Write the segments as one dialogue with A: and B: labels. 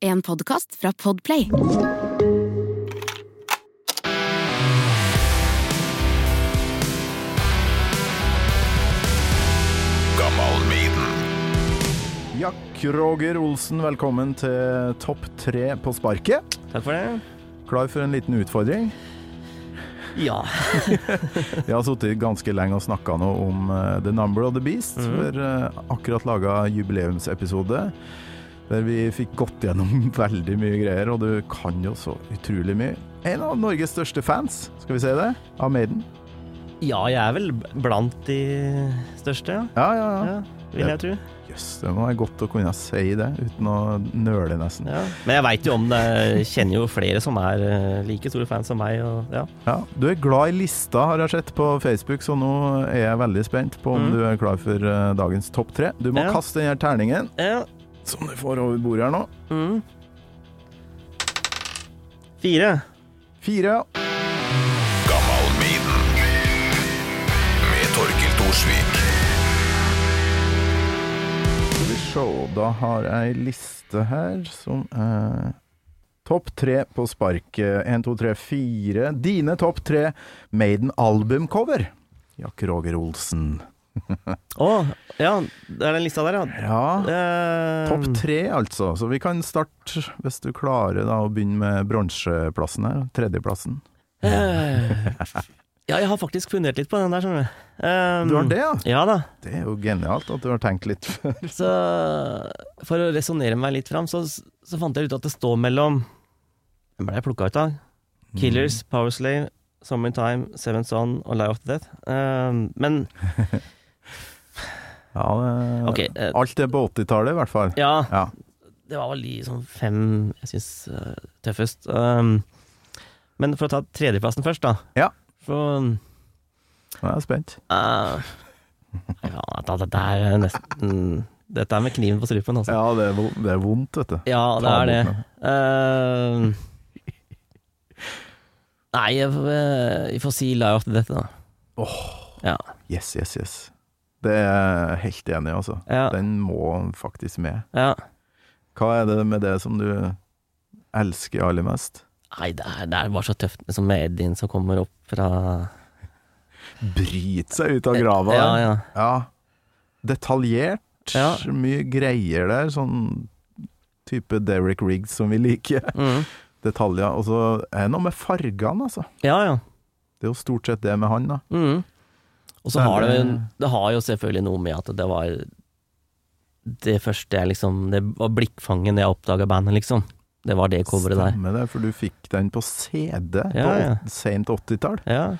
A: En podkast fra Podplay.
B: Jack Roger Olsen, velkommen til topp tre på sparket.
C: Takk for det.
B: Klar for en liten utfordring?
C: Ja.
B: Vi har sittet ganske lenge og snakka nå om eh, The Number of the Beast. Vi har akkurat laga jubileumsepisode der vi fikk gått gjennom veldig mye greier, og du kan jo så utrolig mye. En av Norges største fans, skal vi si det, av Maiden.
C: Ja, jeg er vel blant de største, ja.
B: Ja, ja, ja.
C: ja vil jeg tro.
B: Jøss, det må være godt å kunne si det uten å nøle, nesten.
C: Ja. Men jeg veit jo om det. Jeg kjenner jo flere som er eh, like store fans som meg. Og, ja.
B: Ja, du er glad i lista, har jeg sett på Facebook, så nå er jeg veldig spent på om
C: Mm.
B: du er klar for eh, dagens topp tre. Du må
C: Ja.
B: kaste den her terningen
C: Ja.
B: som du får over bordet her nå.
C: Mm. Fire.
B: Fire.
D: Gammalmiden med Torkil Thorsvik.
B: Skal vi se, da har jeg ei liste her som er Topp tre på sparket. Én, to, tre, fire. Dine topp tre Maiden albumcover. Jack Roger Olsen.
C: Å, ja. Det er den lista der, ja.
B: Ja.
C: Eh,
B: Topp tre, altså. Så vi kan starte, hvis du klarer da, å begynne med bronseplassen her. Tredjeplassen.
C: eh, Ja, jeg har faktisk fundert litt på den der, skjønner du. Eh,
B: Du har det, ja?
C: Ja da.
B: Det er jo genialt at du har tenkt litt før.
C: Så for å resonnere meg litt fram, så, så fant jeg ut at det står mellom Hvem er det jeg plukka ut, da?
B: Mm.
C: Killers, Powerslave, Summertime, Seven Son og Lie of the Death. Ehm, men
B: Ja, det,
C: ok, eh,
B: Alt er på 80-tallet, i hvert fall.
C: ja,
B: Ja.
C: det var vel de sånn fem jeg syns eh, tøffest. Ehm, men for å ta tredjeplassen først, da.
B: Ja.
C: For,
B: Nå er jeg spent.
C: eh, ja, dette er nesten Dette er med kniven på strupen, altså.
B: Ja, det er, vo- det er vondt, vet du.
C: Ja, det
B: Ta
C: er det.
B: bort
C: Ehm, nei, jeg, eh, vi får si Lie of the Death, da. Ja.
B: Yes, yes, yes. Det er jeg helt enig i, altså.
C: Ja,
B: Den må faktisk med.
C: ja.
B: Hva er det med det som du elsker aller mest?
C: Nei, det er, det er bare så tøft liksom med Edin som kommer opp fra
B: Bryt seg ut av grava.
C: Ja, ja.
B: Eh, Ja. Detaljert.
C: Ja.
B: Mye greier der. Sånn type Derek Riggs som vi liker.
C: Mm.
B: Detaljer. Og så er det noe med fargene, altså.
C: ja, ja.
B: Det er jo stort sett det med han, da.
C: Mm. Og så
B: Det er
C: har det,
B: det-
C: det har jo selvfølgelig noe med at det var det første jeg liksom Det var blikkfangen jeg oppdaga bandet, liksom. Det var det coveret der.
B: Stemmer det, for du fikk den på CD på
C: Ja, ja.
B: åt- sent 80-tall.
C: Ja.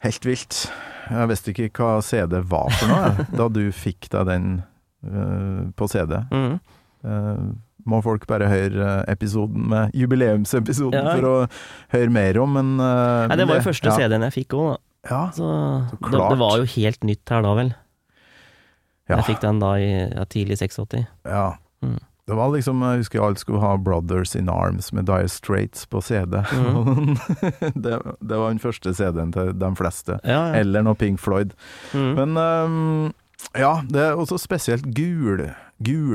B: Helt vilt. Jeg visste ikke hva CD var for noe jeg, da du fikk deg den eh, på CD.
C: Mm.
B: Eh, må folk bare høre eh, episoden med jubileumsepisoden
C: Ja.
B: for å høre mer om, men eh,
C: Nei, det var jo første
B: ja.
C: CD-en jeg fikk òg, da.
B: Ja.
C: Så det,
B: klart.
C: det var jo helt nytt her da, vel.
B: Ja.
C: Jeg fikk den da i ja, tidlig 86.
B: ja.
C: Mm.
B: Det var liksom, Jeg husker alle skulle ha Brothers In Arms med Dire Straits på CD.
C: Mm.
B: det, det var den første CD-en til de fleste.
C: Ja, ja.
B: Eller noe Pink Floyd.
C: Mm.
B: Men ehm, ja, det er også spesielt gul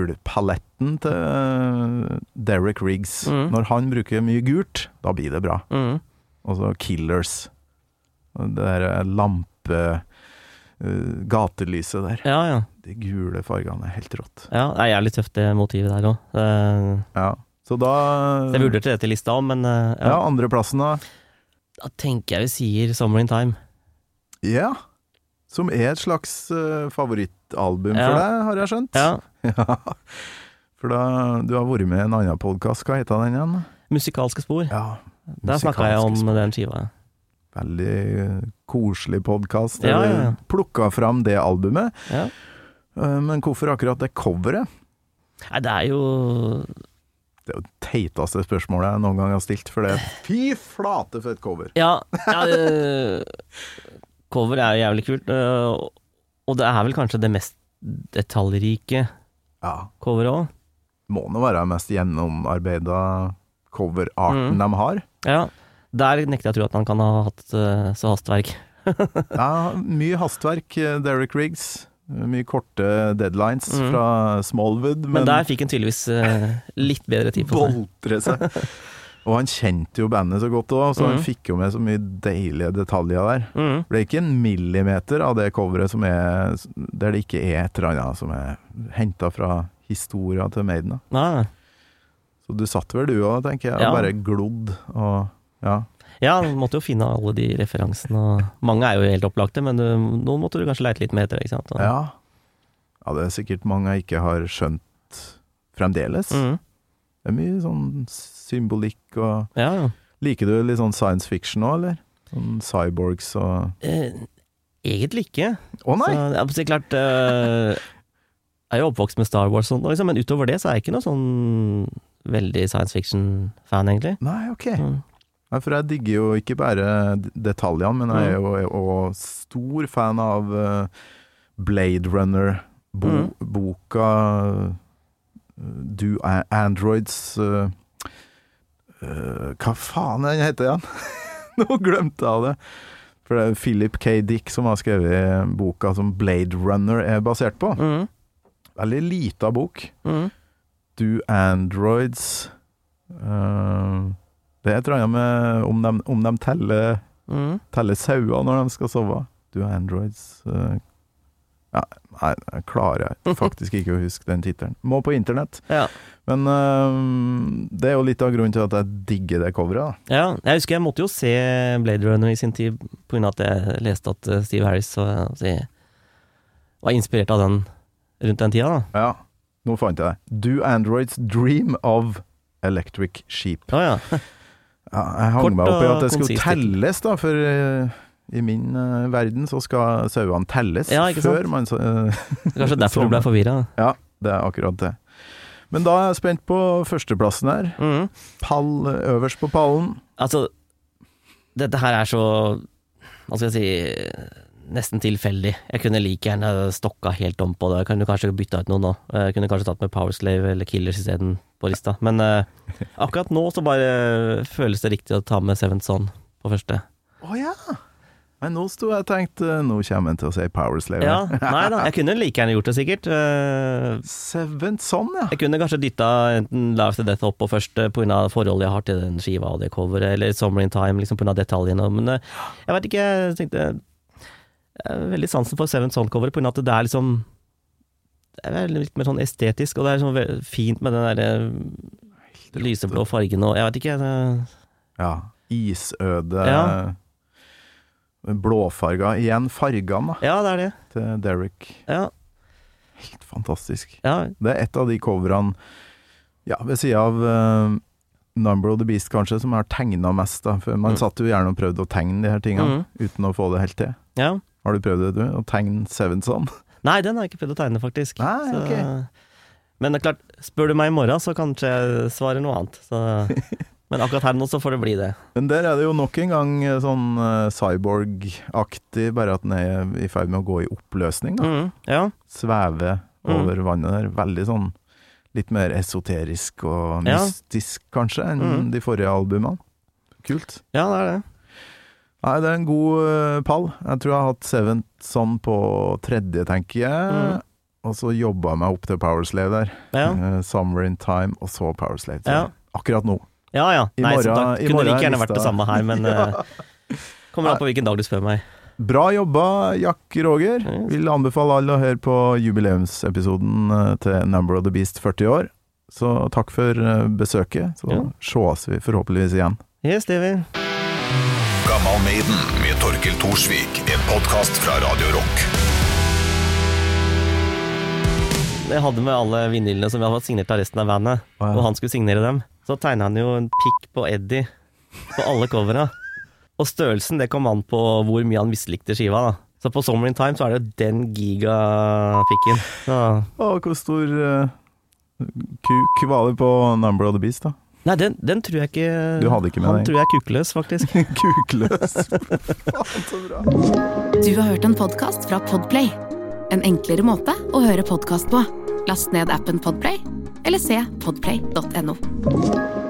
B: gulpaletten til eh, Derek Riggs.
C: Mm.
B: Når han bruker mye gult, da blir det bra.
C: Mm.
B: Og så Killers. Og Det der lampe... eh, gatelyset der.
C: ja, ja.
B: De gule fargene er helt rått.
C: ja. Det er jævlig tøft, det motivet der òg.
B: Ja. Så da
C: Jeg vurderte det til lista òg, men eh,
B: Ja,
C: ja.
B: andreplassen, da.
C: da tenker jeg vi sier 'Summer in Time'.
B: Ja. Som er et slags eh, favorittalbum
C: Ja.
B: for deg, har jeg skjønt.
C: Ja.
B: Ja. For da, du har vært med i en annen podkast, hva heter den igjen?
C: Musikalske spor.
B: Ja,
C: Der snakka jeg om
B: musikalsk.
C: den skiva.
B: Veldig eh, koselig podkast.
C: Ja, ja, ja.
B: Plukka fram det albumet,
C: Ja.
B: eh, men hvorfor akkurat det coveret?
C: Nei, det er jo
B: Det er jo det teiteste spørsmålet jeg noen gang har stilt, for det er fy flate for et cover!
C: Ja, ja det, cover er jo jævlig kult. eh, og det er vel kanskje det mest detaljrike
B: Ja.
C: coveret òg.
B: Må nå være den mest gjennomarbeida coverarten
C: Mm.
B: de har.
C: Ja, der nekter jeg å tro at han kan ha hatt eh, så hastverk.
B: Ja, mye hastverk, eh, Derek Riggs. Eh, Mye korte deadlines
C: Mm.
B: fra Smallwood,
C: Men
B: men,
C: der fikk han tydeligvis eh, litt bedre tid på seg.
B: boltre seg. Og han kjente jo bandet så godt òg, så han
C: Mm.
B: fikk jo med så mye deilige detaljer der.
C: Mm.
B: Det er ikke en millimeter av det coveret som er, der det ikke er et eller annet som er henta fra historia til Maiden. Da.
C: Ja.
B: Så du satt vel du òg, tenker jeg, og
C: Ja.
B: bare glodd og ja.
C: ja, han måtte jo finne alle de referansene. Og mange er jo helt opplagte, men du, noen måtte du kanskje leite litt mer etter. Ikke sant? Og-
B: ja. Ja, det er sikkert mange jeg ikke har skjønt fremdeles.
C: Mm.
B: Det er mye sånn symbolikk og
C: ja, ja.
B: Liker du litt sånn science fiction òg, eller? Sånn cyborgs og
C: Eh, egentlig ikke.
B: Å nei!
C: Så, ja, men så klart eh, Jeg er jo oppvokst med Star Wars, og sånt, liksom, men utover det så er jeg ikke noe sånn veldig science fiction-fan, egentlig.
B: Nei, ok.
C: Mm.
B: Nei, for jeg digger jo ikke bare d- detaljene, men jeg er jo er også stor fan av eh, Blade
C: Mm.
B: Runner-boka eh, Do A- Androids eh, eh, Hva faen er den heter igjen? Nå glemte jeg det! For det er Philip K. Dick som har skrevet boka som Blade Runner er basert på.
C: Mm.
B: Veldig lita bok.
C: Mm.
B: Do Androids eh, Det er et eller annet med om de, om de teller,
C: Mm.
B: teller sauer når de skal sove. Do Androids eh, ja, Nei, jeg klarer faktisk ikke å huske den tittelen. Må på internett.
C: Ja.
B: Men eh, det er jo litt av grunnen til at jeg digger det coveret. da.
C: Ja, jeg husker jeg måtte jo se Blade Runner i sin tid på grunn av at jeg leste at eh, Steve Harris så, så, var inspirert av den rundt den tida. da.
B: Ja, nå fant jeg det. Do Androids Dream of Electric Sheep.
C: Å ja.
B: Ja, jeg hang
C: Kort
B: meg opp i
C: og
B: at det skulle
C: konsist.
B: telles, da, for eh, i min eh, verden så skal sauene telles
C: Ja, ikke sant?
B: før man så- eh,
C: Kanskje derfor
B: Sånn.
C: du ble forvirra.
B: Ja, det er akkurat det. Men da er jeg spent på førsteplassen her.
C: Mm.
B: Pall eh, øverst på pallen.
C: Altså, dette her er så Hva skal jeg si Nesten tilfeldig. Jeg kunne like gjerne stokka helt om på det. Jeg kunne kanskje bytta ut noen nå. Jeg kunne kanskje tatt med Powerslave eller Killers isteden på lista. Men eh, akkurat nå så bare eh, føles det riktig å ta med Seventh Son på første.
B: Å ja! Men nå sto jeg og tenkte eh, Nå kommer han til å si Powerslave.
C: Ja, nei da, jeg kunne like gjerne gjort det sikkert. Eh,
B: Seventh Son, sånn, ja.
C: Jeg kunne kanskje dytta enten Live to Death opp på først eh, pga. forholdet jeg har til den skiva og det coveret, eller Summer in Time liksom pga. detaljene, men eh, jeg veit ikke, jeg tenkte jeg har Veldig sansen for Seven Soul-coveret pga. at det er liksom Det er vel litt mer sånn estetisk, og det er sånn ve- fint med den derre lyseblå fargen og Jeg veit ikke, eh, det,
B: ja. Isøde eh,
C: Ja.
B: Blåfarga. Igjen fargene da,
C: Ja, det er det.
B: til Derek.
C: Ja,
B: Helt fantastisk.
C: ja.
B: Det er et av de coverene ja, ved sida av eh, Number of the Beast, kanskje, som jeg har tegna mest. Da. For man
C: Mm.
B: satt jo gjerne og prøvde å tegne de her tingene uten å få det helt til.
C: ja.
B: Har du prøvd det, du? Å tegne Sevenson?
C: Nei, den har jeg ikke prøvd å tegne, faktisk.
B: Nei,
C: Så-
B: ok.
C: Men det er klart, spør du meg i morgen, så kanskje jeg svarer noe annet. Så. Men akkurat her nå så får det bli det.
B: Men der er det jo nok en gang eh, sånn eh, cyborg-aktig, bare at den er i ferd med å gå i oppløsning. Da.
C: Mm, ja.
B: Sveve
C: Mm.
B: over vannet der. Veldig sånn litt mer esoterisk og
C: Ja.
B: mystisk, kanskje, enn
C: Mm.
B: de forrige albumene. Kult.
C: ja, det er det.
B: Nei, det er en god eh, pall. Jeg tror jeg har hatt Seventh Son på tredje, tenker jeg.
C: Mm.
B: Og så jobba jeg meg opp til Powerslave der.
C: Ja,
B: Eh, Summer in Time, og så Powerslave. tror
C: Ja.
B: jeg. Akkurat nå.
C: ja. ja.
B: I
C: Nei, som
B: morgen-
C: sagt,
B: i
C: kunne
B: morgen
C: like
B: er
C: gjerne vært
B: lista.
C: det samme her, men eh, kommer an på hvilken dag du spør meg.
B: Bra jobba, Jack Roger.
C: Yes.
B: Vil anbefale alle å høre på jubileumsepisoden eh, til Number of the Beast 40 år. Så takk for eh, besøket. Så
C: Ja.
B: sees vi forhåpentligvis igjen.
C: Yes, det vil.
D: Gammal Maiden med Torkil Thorsvik. En podkast fra Radio Rock.
C: Jeg hadde med alle vinylene som vi hadde fått signert av resten av bandet,
B: Å, ja.
C: og han skulle signere dem. Så tegna han jo en pikk på Eddie på alle covera. Og størrelsen det kom an på hvor mye han mislikte skiva. da. Så på Summer in Time så er det jo den gigapikken. Så.
B: Å, hvor stor eh, kuk var det på Number of the Beast, da?
C: Nei, den, den tror jeg ikke
B: Du hadde ikke med
C: Han
B: deg.
C: tror jeg er kukløs, faktisk.
B: Kukløs! Faen, så bra.
A: Du har hørt en podcast fra Podplay. En enklere måte å høre podcast på. Last ned appen Podplay, eller se podplay.no.